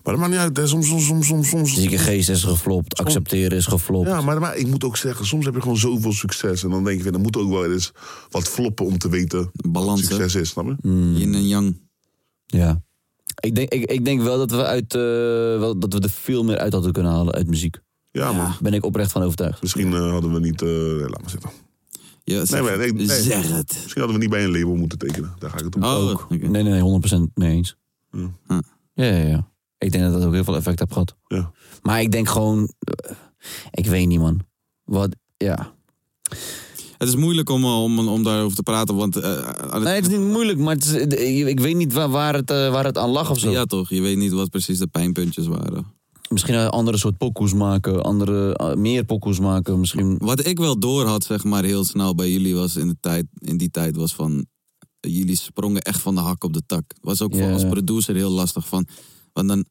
dat maakt niet uit. hè. Soms, soms, soms, soms, soms. Zieke geest is geflopt. Accepteren is geflopt. Ja, maar, maar ik moet ook zeggen, soms heb je gewoon zoveel succes. En dan denk je, dan moet ook wel eens wat floppen om te weten Balans, wat succes is, snap je? Yin en yang. Ja. Ik denk, ik, ik denk wel dat we uit eh, wel, dat we er veel meer uit hadden kunnen halen uit muziek. Ja, man. Ben ik oprecht van overtuigd. Misschien eh, hadden we niet... eh, nee, laat maar zitten. Ja, Nee, maar, nee, nee. Misschien hadden we niet bij een label moeten tekenen. Daar ga ik het om. Oh, ook. Nee, nee, nee, 100% mee eens. Ja. Ja, ja, ja. Ik denk dat dat ook heel veel effect heeft gehad. Ja. Maar ik denk gewoon. eh, ik weet niet, man. Wat. Ja. Het is moeilijk om, eh, om, om daarover te praten, want... eh, aan Nee, het- het is niet moeilijk, maar het is- eh, ik weet niet waar, waar, het, eh, waar het aan lag of zo. ja toch, je weet niet wat precies de pijnpuntjes waren. Misschien een andere soort pokoes maken, andere, eh, meer pokoes maken. Misschien. Wat ik wel door had, zeg maar, heel snel bij jullie was in, de tijd, in die tijd was van... Jullie sprongen echt van de hak op de tak. Was ook voor Ja. als producer heel lastig van... Want dan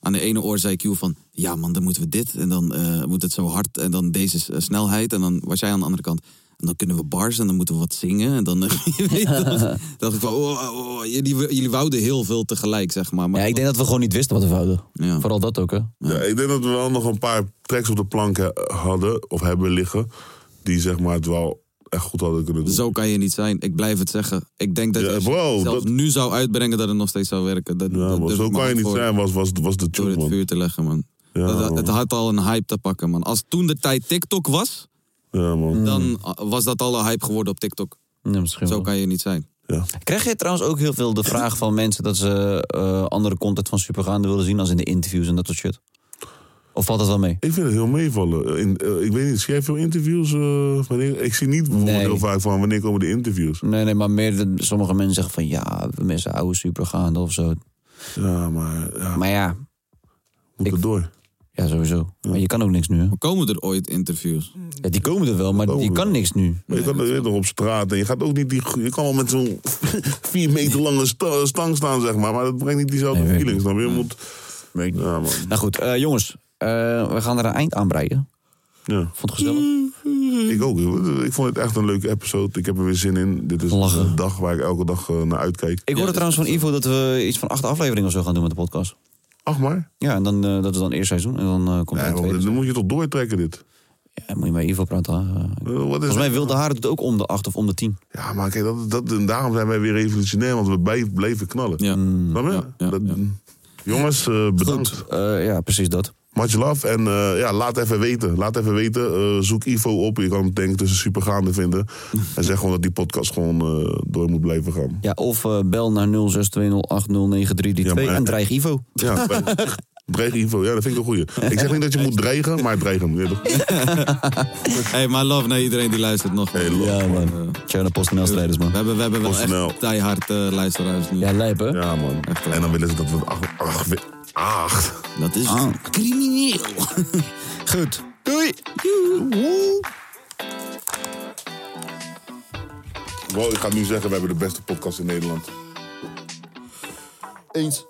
aan de ene oor zei Q van... Ja man, dan moeten we dit en dan eh, moet het zo hard en dan deze s- eh, snelheid. En dan was jij aan de andere kant... En dan kunnen we bars en dan moeten we wat zingen. En dan, eh, je weet dat, dat ik van, oh, oh, oh, jullie, jullie wouden heel veel tegelijk, zeg maar. maar Ja, ik denk dat we gewoon niet wisten wat we wouden. Vooral dat ook, hè? Ja, ik denk dat we wel nog een paar tracks op de plank eh, hadden of hebben liggen. Die zeg maar het wel echt goed hadden kunnen doen. Zo kan je niet zijn. Ik blijf het zeggen. Ik denk dat Ja, als je bro, het zelf dat- nu zou uitbrengen dat het nog steeds zou werken. Dat, Ja, dat maar durf zo ik me kan je hard niet voor zijn, was, was, was de Door tune, het man. vuur te leggen, man. Ja, Dat- man. het had al een hype te pakken, man. Als toen de tijd TikTok was, Ja, man. dan ah, was dat al een hype geworden op TikTok. Ja, misschien Zo kan je niet zijn. Krijg je trouwens ook heel veel de vraag van mensen dat ze eh, andere content van Supergaande willen zien, als in de interviews en dat soort shit? Of valt dat wel mee? Ik vind het heel meevallen. In, eh, ik weet niet, schrijf veel interviews? eh, wanneer, ik zie niet bijvoorbeeld heel vaak van wanneer komen de interviews. Nee, nee, maar meer dat sommige mensen zeggen van ja, we missen oude Supergaande of zo. Ja, maar ja. Maar ja. Moet er door. Ja, sowieso. Maar je kan ook niks nu, hè? Komen er ooit interviews? Ja, die komen er wel, maar je kan niks nu. Maar je kan er nog op straat en je gaat ook niet die. Je kan wel met zo'n vier meter lange sta- stang staan, zeg maar. Maar dat brengt niet diezelfde feeling. Snap je? Je moet. Ja, man. Nou goed, eh, jongens, eh, we gaan er een eind aan breien. Ja. Vond het gezellig. Ik ook. joh. Ik vond het echt een leuke episode. Ik heb er weer zin in. Dit is een dag waar ik elke dag eh, naar uitkijk. Ik hoorde trouwens van Ivo dat we iets van acht afleveringen of zo gaan doen met de podcast. Ach maar. Ja, en dan, eh, dat is dan eerst seizoen en dan eh, komt er een tweede. Dan moet je toch doortrekken dit. Eh, Ja, dan moet je met Ivo praten. hè. Volgens mij Wilde Haren doet ook om de acht of om de tien. Ja, maar kijk, dat, dat, en daarom zijn wij weer revolutionair, want we bij- bleven knallen. Ja. Snap je? Dat- Jongens, eh, bedankt. ja, precies dat. Much love. En eh, ja, laat even weten. Laat even weten. Eh, zoek Ivo op. Je kan het denk ik tussen supergaande vinden. en zeg gewoon dat die podcast gewoon eh, door moet blijven gaan. Ja, of eh, bel naar 0620809332 maar- en dreig Ivo. Ja, dreig- dreig Ivo. Ja, dat vind ik een goeie. Ik zeg niet dat je moet dreigen, maar dreig hem. Ja, toch? Hey, my love naar iedereen die luistert nog. Hey, ja, man. Ciao naar PostNL strijders, man. We hebben, we hebben wel PostNL. echt diehard eh luisteraars nu. Ja, lijp, hè? Ja, man. En dan willen ze dat we... Ach, ach, we- ach. Dat is... crimineel. Goed. Doei. Wow, ik ga nu zeggen, we hebben de beste podcast in Nederland. Eens.